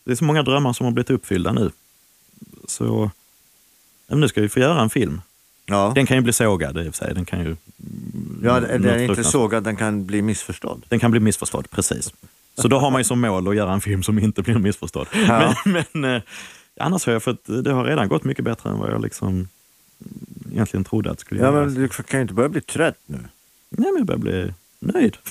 det är så många drömmar som har blivit uppfyllda nu. Så ja, men nu ska vi få göra en film. Ja, Den kan ju bli sågad i och för sig. Den kan ju ja den något är inte Mm, fruktansvärt. sågad, den kan bli missförstådd. Den kan bli missförstådd, precis. Så då har man ju som mål att göra en film som inte blir missförstådd. Ja. Men, men eh, annars har jag fått, det har redan gått mycket bättre än vad jag liksom egentligen trodde att det skulle Ja, göra. men du kan ju inte börja bli trött nu. Nej, men jag börjar bli nöjd.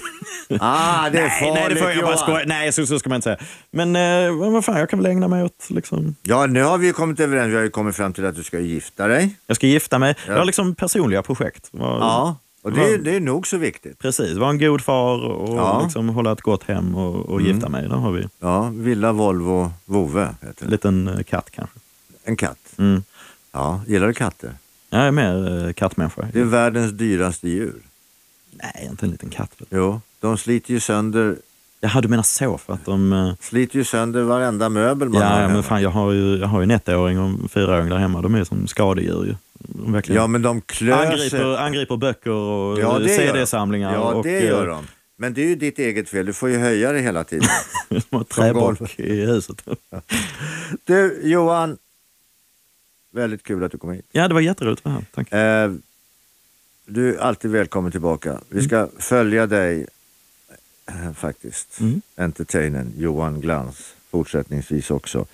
Ah, det är Nej, farligt nej, det får jag bara Johan. skoja. Nej, så, så ska man inte säga. Men eh, vad vad fan, jag kan väl ägna mig åt liksom... Ja, nu har vi ju kommit överens. Vi har ju kommit fram till att du ska gifta dig. Jag ska gifta mig. Ja. Jag har liksom personliga projekt. Var, Ja, och det är, Mm. det är nog så viktigt. Precis, vara en god far och Ja. Mm. liksom hålla ett gott hem och, och gifta mig. Där har vi Ja, villa, Volvo, vovve heter en det. liten eh, katt kanske. En katt. Mm. Ja, gillar du katter? Jag är mer eh, kattmänniska. Det är världens dyraste djur. Nej, inte en liten katt. vet du. Jo, de sliter ju sönder, Jaha, du menar så för att de... eh, sliter ju sönder varenda möbel man har Ja, ja, hemma. men fan, jag har ju, jag har ju en ettåring och en fyraåring där hemma. De är som skadedjur ju. De verkligen Ja, men de klör sig. angriper, angriper böcker och Ja, eh, det gör de. CD-samlingar. Ja, och, det eh, gör de. Men det är ju ditt eget fel. Du får ju höja det hela tiden. små golv. träbock i huset. Du, Johan. Väldigt kul att du kom hit. Ja, det var jätteroligt att vara här. Tack. Eh, du är alltid välkommen tillbaka. Mm. Vi ska följa dig eh, faktiskt. Mm. Entertainern Johan Glans fortsättningsvis också.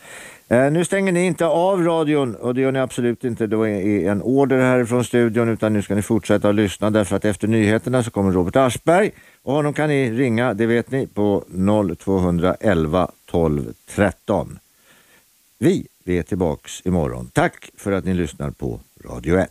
Eh, nu stänger ni inte av radion och det gör ni absolut inte. Det är en order härifrån studion utan nu ska ni fortsätta att lyssna därför att efter nyheterna så kommer Robert Aschberg och honom kan ni ringa, det vet ni, på 0211 12 13. Vi Vi är tillbaks imorgon. Tack för att ni lyssnar på Radio 1.